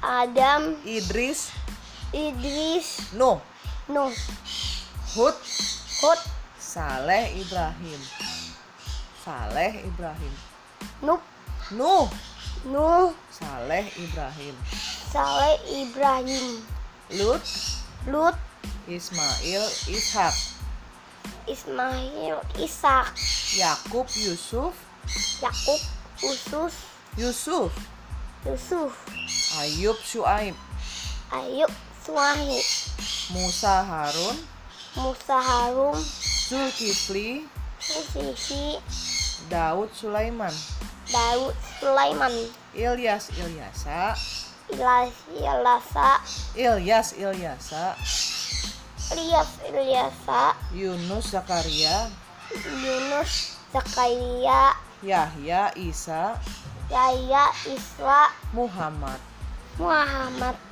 Adam, Idris, Idris, Nuh, Nuh, Hud, Hud, Saleh, Ibrahim. Saleh, Ibrahim. Nuh, Nuh, Nuh, Saleh, Ibrahim. Saleh, Ibrahim, Lut, Lut, Ismail, Ishak. Ismail, Ishak, Yakub, Yusuf, Yakub, Usus, Yusuf, Yusuf, Ayub, Shuaib, Ayub, Suahi, Musa, Harun, Musa Harum, Zulkifli, Sisi, Daud, Sulaiman, Daud, Sulaiman, Ilyas, Ilyasa, Ilas, Ilasa, Ilyas, Ilyasa, Ilyas, Ilyasa, Yunus, Zakaria, Yunus, Zakaria, Yahya, Isa, Yahya, Isra, Muhammad. Muhammad.